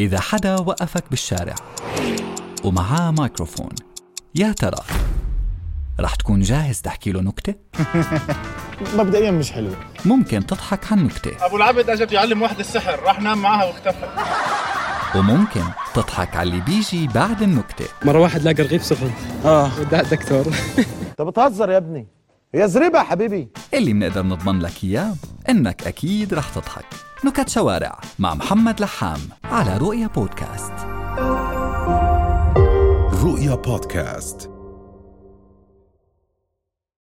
إذا حدا وقفك بالشارع ومعاه مايكروفون يا ترى رح تكون جاهز تحكي له نكتة؟ مبدئيا مش حلوه ممكن تضحك عن نكتة ابو العبد اجى بده يعلم واحد السحر راح نام معها واختفى وممكن تضحك على اللي بيجي بعد النكتة مرة واحد لاقى رغيف سخن اه وداه الدكتور طب بتهزر يا ابني يا زريبه حبيبي اللي منقدر نضمن لك إياه إنك أكيد رح تضحك نكت شوارع مع محمد لحام على رؤيا بودكاست رؤيا بودكاست